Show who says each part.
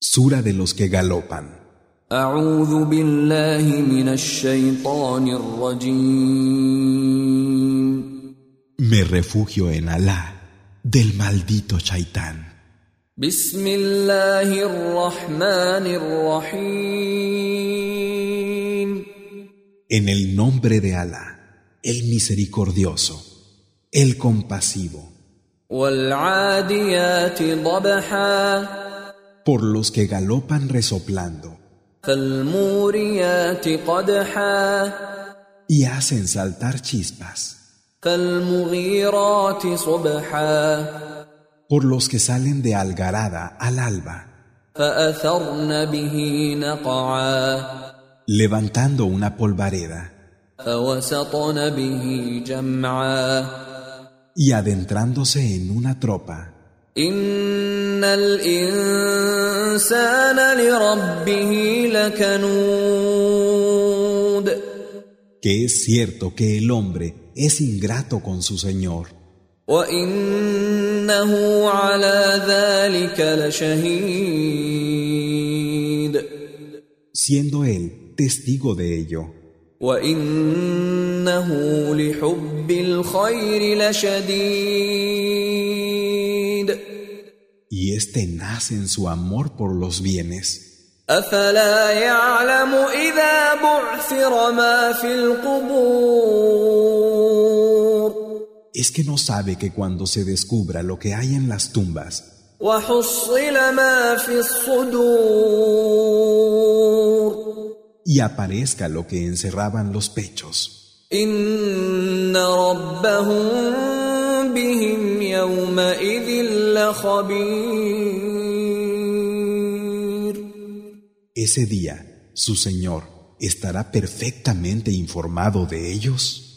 Speaker 1: Sura de los que galopan.
Speaker 2: أعوذ بالله من الشيطان الرجيم
Speaker 1: Me refugio en Alá del maldito Chaitán.
Speaker 2: بسم الله الرحمن الرحيم
Speaker 1: En el nombre de Alá, el misericordioso, el compasivo,
Speaker 2: والعاديات ضبحا
Speaker 1: por los que galopan resoplando
Speaker 2: فالموريات قدحا
Speaker 1: y hacen saltar chispas,
Speaker 2: فالمغيرات صبحا
Speaker 1: por los que salen de algarada al alba,
Speaker 2: فأثرن به نقعا
Speaker 1: levantando una polvareda
Speaker 2: فوسطن به جمعا
Speaker 1: y adentrándose en una tropa.
Speaker 2: إن الإنسان لربه لكنود
Speaker 1: Que es cierto que el hombre es ingrato con su Señor.
Speaker 2: وإنه على ذلك لشهيد
Speaker 1: siendo él testigo de ello,
Speaker 2: وإنه لحب الخير لشديد
Speaker 1: y éste nace en su amor por los bienes.
Speaker 2: أفلا يعلم إذا بعثر ما في القبور
Speaker 1: Es que no sabe que cuando se descubra lo que hay en las tumbas
Speaker 2: وحصل ما في الصدور
Speaker 1: y aparezca lo que encerraban los pechos,
Speaker 2: إن ربهم بهم يومئذ لخبير
Speaker 1: ese día su Señor estará perfectamente informado de ellos.